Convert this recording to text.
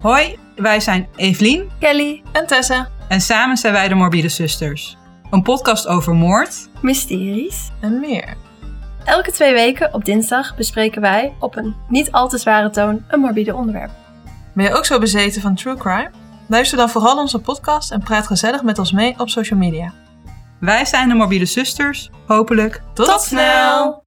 Hoi, wij zijn Evelien Kelly, En Tessa. en samen zijn wij de Morbide Zusters. Een podcast over moord. Mysteries. En meer. Elke twee weken op dinsdag bespreken wij op een niet al te zware toon een morbide onderwerp. Ben je ook zo bezeten van true crime? Luister dan vooral onze podcast en praat gezellig met ons mee op social media. Wij zijn de Morbide Zusters. Hopelijk Tot, snel!